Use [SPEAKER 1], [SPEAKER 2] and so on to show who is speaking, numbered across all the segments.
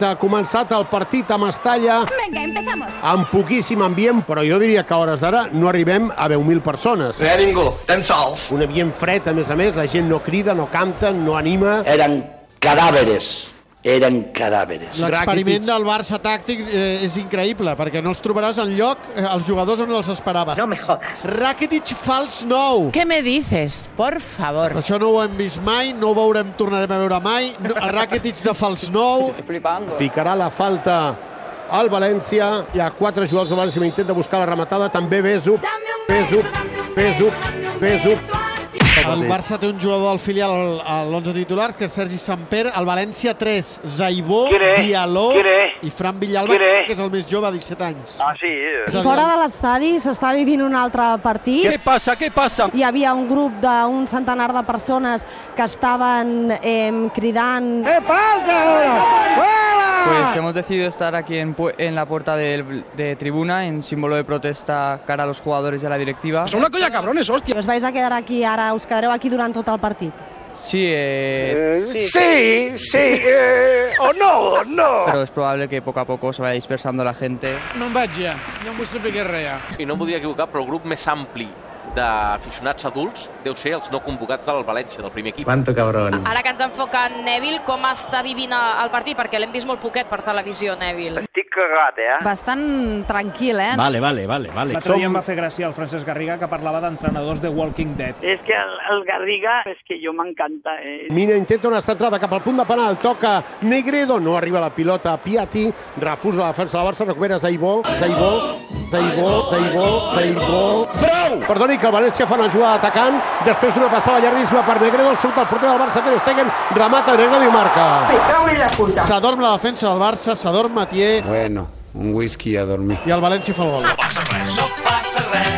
[SPEAKER 1] Ha començat el partit a Mestalla
[SPEAKER 2] Venga, empezamos.
[SPEAKER 1] amb poquíssim ambient, però jo diria que a hores d'ara no arribem a 10.000 persones.
[SPEAKER 3] No hi ha ningú, estem sols.
[SPEAKER 1] Un ambient fred, a més a més, la gent no crida, no canta, no anima.
[SPEAKER 4] eran cadáveres, eran cadáveres.
[SPEAKER 5] L'experiment del Barça tàctic eh, és increïble, perquè no els trobaràs en lloc eh, els jugadors on els esperaves. No me jodas. Rakitic fals nou.
[SPEAKER 6] ¿Qué me dices? Por favor.
[SPEAKER 5] Això no ho hem vist mai, no ho veurem, tornarem a veure mai. No, el Rakitic de fals nou.
[SPEAKER 1] Ficarà la falta al València. Hi ha quatre jugadors del València que intenta buscar la rematada. També Besu. Besu. Besu. Besu.
[SPEAKER 5] El Barça té un jugador del filial a l'11 titulars, que és Sergi Samper. El València 3, Zaibó, Dialó i Fran Villalba, que és el més jove, 17 anys. Ah, sí.
[SPEAKER 7] Fora de l'estadi s'està vivint un altre partit. Què passa, què passa? Hi havia un grup d'un centenar de persones que estaven eh, cridant
[SPEAKER 3] Ah.
[SPEAKER 8] Pues hemos decidido estar aquí en, pu- en la puerta del- de, tribuna en símbolo de protesta cara a los jugadores y a la directiva.
[SPEAKER 7] que us vais a quedar aquí ara, us quedareu aquí durant tot el partit.
[SPEAKER 8] Sí, eh,
[SPEAKER 3] Sí, sí, eh, o oh, no, o no.
[SPEAKER 8] pero es probable que poco a poco se vaya dispersando la gente.
[SPEAKER 9] I no em voldria equivocar, però el grup més ampli d'aficionats adults deu ser els no convocats del València, del primer equip.
[SPEAKER 4] Quanto cabrón.
[SPEAKER 2] Ara que ens enfoca en Neville, com està vivint el partit? Perquè l'hem vist molt poquet per televisió, Neville.
[SPEAKER 7] Bastant tranquil, eh?
[SPEAKER 10] Vale, vale, vale, vale.
[SPEAKER 1] Som...
[SPEAKER 5] fer gràcia el Francesc Garriga, que parlava d'entrenadors de Walking Dead.
[SPEAKER 10] Es que al, Garriga es que eh? yo me encanta.
[SPEAKER 1] Mina intenta una centrada cap al punt de penal, toca Negredo, no arriba la pilota a Piatti, refusa la defensa del Barça, recupera Zaibó, Zaibó, Zaibó, Zaibó, Zaibó... Prou! Perdoni, que el València fa una jugada atacant, després d'una passada llarguíssima per Negredo, surt el porter del Barça, Ter Stegen, remata Negredo i marca.
[SPEAKER 5] S'adorm la defensa del Barça, s'adorm Matier,
[SPEAKER 4] Bueno, un whisky a dormir.
[SPEAKER 5] i el València fa el gol.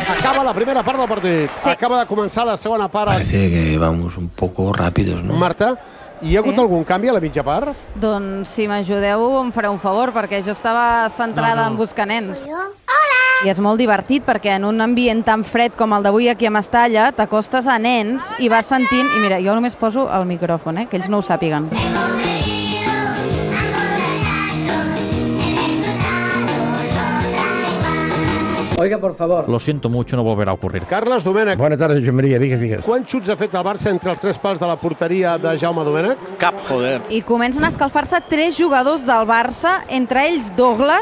[SPEAKER 1] Acaba la primera part del partit, acaba de començar la segona part.
[SPEAKER 4] Parece que vamos un poco rápidos,
[SPEAKER 1] Marta, hi ha hagut
[SPEAKER 7] Sí.
[SPEAKER 1] algun canvi a la mitja part?
[SPEAKER 7] Doncs si m'ajudeu em fareu un favor, perquè jo estava centrada no, no. en buscar nens. Hola! I és molt divertit perquè en un ambient tan fred com el d'avui aquí a Mestalla t'acostes a nens i vas sentint... I mira, jo només poso el micròfon, eh, que ells no ho sàpiguen.
[SPEAKER 10] Lo siento mucho, no volverá a ocurrir.
[SPEAKER 1] Carles Domènech,
[SPEAKER 5] Bona tarda, Joan Maria, digues, digues.
[SPEAKER 1] quants xuts ha fet el Barça entre els tres pals de la porteria de Jaume Domènech?
[SPEAKER 10] Cap, joder.
[SPEAKER 7] I comencen a escalfar-se tres jugadors del Barça, entre ells Douglas.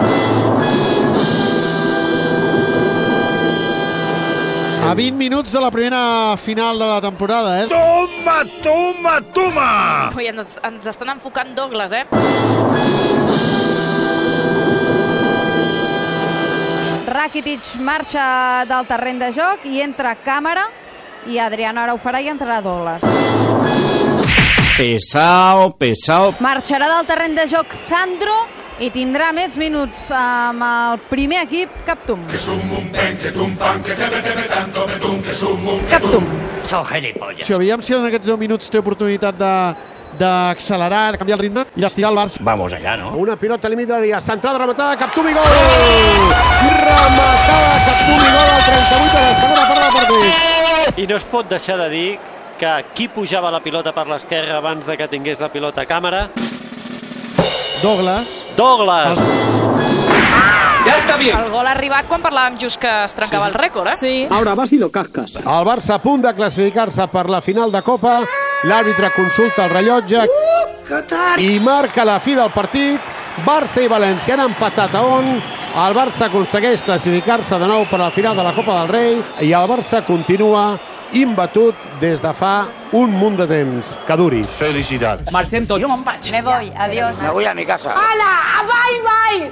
[SPEAKER 5] A 20 minuts de la primera final de la temporada, eh?
[SPEAKER 3] Toma, toma, toma!
[SPEAKER 2] Ah. Ui, ens, ens estan enfocant Douglas, eh?
[SPEAKER 7] Rakitic marxa del terreny de joc i entra càmera i Adriano ara ho farà i entrarà Douglas.
[SPEAKER 10] Pesao, pesao.
[SPEAKER 7] Marxarà del terreny de joc Sandro i tindrà més minuts eh, amb el primer equip Captum. Captum.
[SPEAKER 5] Si aviam si en aquests 10 minuts té oportunitat de d'accelerar, de canviar el ritme i d'estirar el Barça.
[SPEAKER 10] Vamos allá, ¿no?
[SPEAKER 1] Una pilota al límit de l'àrea, centrada, rematada, Captum i gol! Rematada, Captum i gol al 38 de la segona part del partit.
[SPEAKER 10] I no es pot deixar de dir que qui pujava la pilota per l'esquerra abans de que tingués la pilota a càmera?
[SPEAKER 5] Douglas.
[SPEAKER 10] Douglas!
[SPEAKER 2] El gol ha arribat quan parlàvem just que es trencava el rècord, eh? Sí.
[SPEAKER 1] El Barça a punt de classificar-se per la final de Copa. L'àrbitre consulta el rellotge i marca la fi del partit. Barça i València han empatat a on. El Barça aconsegueix classificar-se de nou per a la final de la Copa del Rei i el Barça continua imbatut des de fa un munt de temps. Que duri.
[SPEAKER 3] Felicitats.
[SPEAKER 8] Marcento, yo
[SPEAKER 6] Me voy, adiós.
[SPEAKER 4] Me voy a mi casa.
[SPEAKER 7] Hola, bye bye.